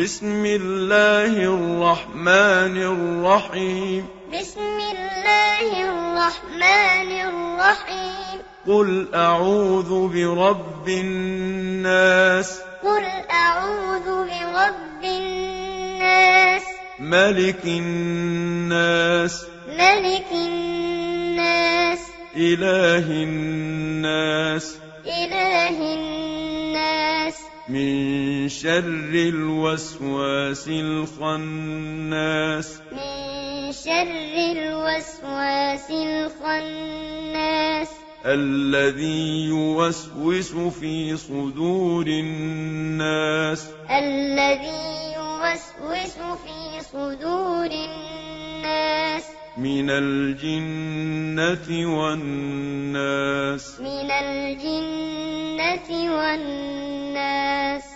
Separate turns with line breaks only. بسم الله الرحمن الرحيم
بسم الله الرحمن الرحيم
قل أعوذ برب الناس
قل أعوذ برب الناس
ملك الناس
ملك الناس
إله الناس
إله الناس
من شر الوسواس الخناس
من شر الوسواس الخناس
الذي يوسوس في صدور الناس
الذي يوسوس في صدور الناس
من الجنة والناس
من الجنة والناس